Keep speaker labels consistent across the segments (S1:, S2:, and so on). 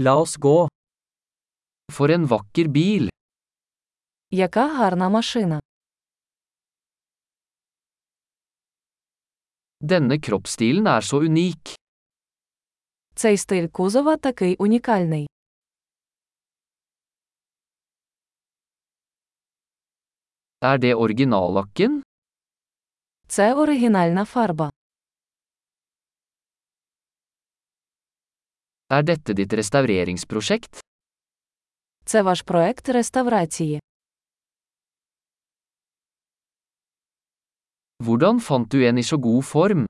S1: La oss gå. For en vakker bil.
S2: Яка гарна машина.
S1: Denne kroppsstilen er så unik.
S2: Цей стиль кузова такий унікальний.
S1: Er det originallakken?
S2: Це оригінальна фарба.
S1: Er dette ditt restaureringsprosjekt?
S2: Це ваш проект реставрації.
S1: Hvordan fant du en i så god form?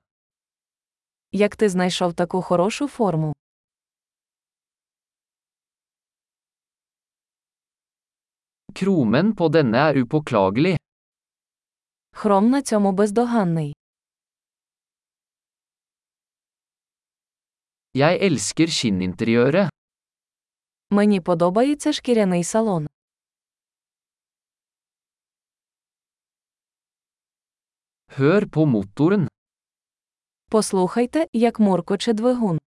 S2: Як ти знайшов таку хорошу форму?
S1: Kromen på denne er upåklagelig.
S2: Хром на цьому бездоганний.
S1: Jeg elsker skinninteriøret.
S2: Мені подобається шкіряний салон.
S1: Hør på motoren.
S2: Послухайте, як муркоче двигун.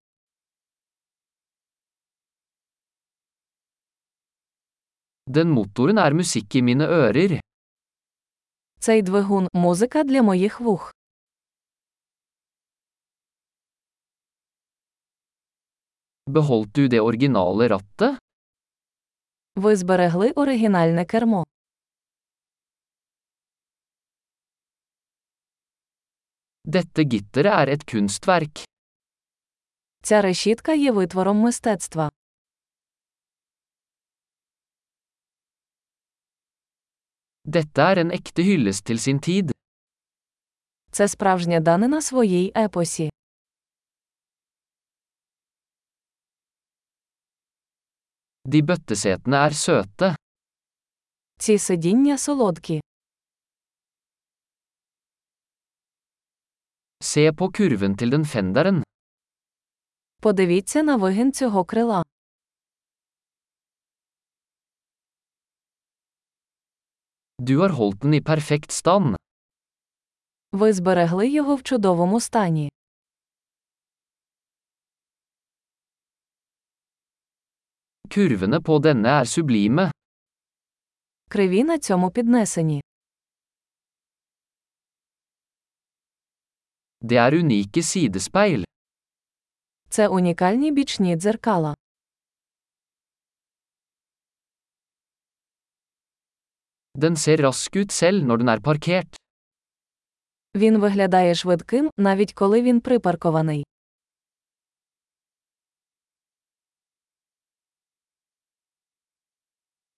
S1: Den motoren er musikk i mine ører.
S2: Цей двигун музика для моїх вух.
S1: Beholdt du det originale rattet?
S2: Ви зберегли оригінальне кермо.
S1: Dette gitteret er et kunstverk.
S2: Ця решітка є витвором мистецтва.
S1: Dette er en ekte hyllest til sin tid.
S2: Це справжня данина своїй епосі.
S1: De bøttesetene er søte.
S2: Ці сидіння солодкі.
S1: Se på kurven til den fenderen.
S2: Подивіться на вигін цього крила.
S1: Du har holdt den i perfekt stand.
S2: Ви зберегли його в чудовому стані.
S1: Kurvene på denne er sublime.
S2: Криві на цьому піднесені.
S1: Det er unike sidespeil.
S2: Це унікальні бічні дзеркала.
S1: Den ser rask ut selv når den er parkert.
S2: Він виглядає швидким, навіть коли він припаркований.